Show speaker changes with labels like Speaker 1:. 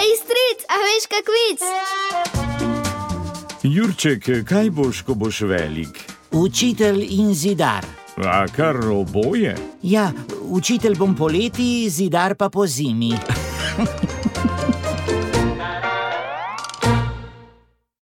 Speaker 1: Ej, stric, a veš kak vic?
Speaker 2: Jurček, kaj boš, ko boš velik?
Speaker 3: Učitelj in zidar.
Speaker 2: A kar oboje?
Speaker 3: Ja, učitelj bom poleti, zidar pa po zimi.